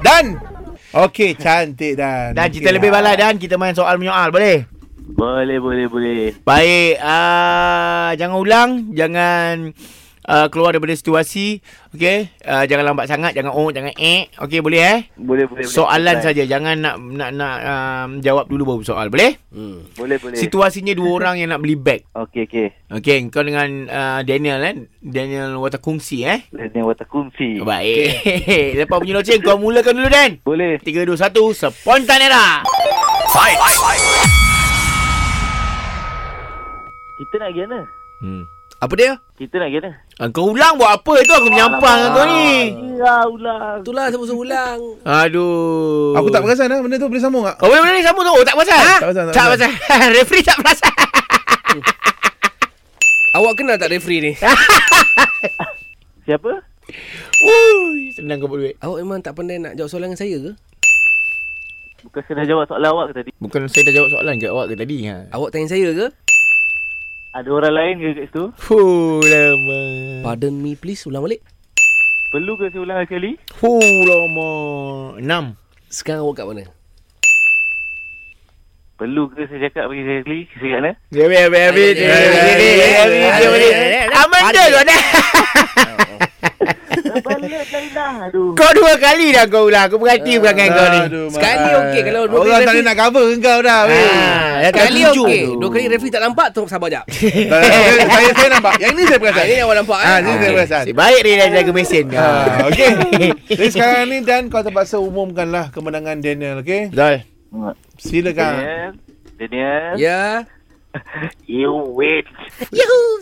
Dan Okey, cantik Dan. Dan Okey, lah. cerita lebih balai Dan Kita main soal menyoal Boleh? Boleh, boleh, boleh. Baik uh, Jangan ulang Jangan uh, Keluar daripada situasi Okey uh, Jangan lambat sangat Jangan oh Jangan eh Okey boleh eh Boleh, boleh. Soalan boleh. saja Jangan nak nak nak um, Jawab dulu baru soal Boleh? Boleh, boleh. Situasinya dua orang yang nak beli beg Okey, okey. Okey kau dengan uh, Daniel kan Daniel Watakungsi eh Ini watak kumsi. Baik Lepas bunyi loceng Kau mulakan dulu Dan Boleh. 3, 2, 1 Spontan era Kita nak pergi mana? hmm. Apa dia? Kita nak pergi mana? Ah, Kau ulang buat apa itu Aku menyampang dengan kau ni Ya, ulang. Itulah sama-sama ulang. Aduh Aku tak perasan lah benda tu boleh sambung tak? Oh boleh boleh boleh, sambung tu Oh tak pasal ha? Tak perasan, tak Tak pasal Referee tak pasal Awak kenal tak referee ni? Siapa? Wuih Senang kau buat duit Awak memang tak pandai nak jawab soalan dengan saya ke? Bukan saya dah jawab soalan awak ke tadi. Bukan saya dah jawab soalan ke awak ke tadi ha? Awak tanya saya ke? Ada orang lain ke kat situ? Fuh lama Pardon me please, ulang balik. Perlu ke saya ulang lagi sekali? Fuh lama Enam Sekarang awak kat mana? Perlu ke saya cakap bagi saya sekali? Saya kat mana? Ya ya ya ya Aman dah lu dah Balik lah indah. Aduh. Kau dua kali dah kau ulang Aku berhati bukan dengan kau ni Aduh, Sekali Mat. okey, kalau dua Orang kali tak boleh referee- nak cover kau dah weh. Ah, dah Kali tujuh. okey. Dua kali referee tak nampak, tunggu sabar jap. Tak, saya- Saya saya nampak. Yang ini saya perasan. Ah, ini awak nampak Ah, eh. ini saya Okey, perasan. nasib Baik dia dah jaga mesin Ah, Ah, okey. Jadi sekarang ni Dan kau terpaksa umumkanlah kemenangan Daniel, okey? Betul Silakan. eh. Daniel. Daniel. Ya. You wait. Yuhu.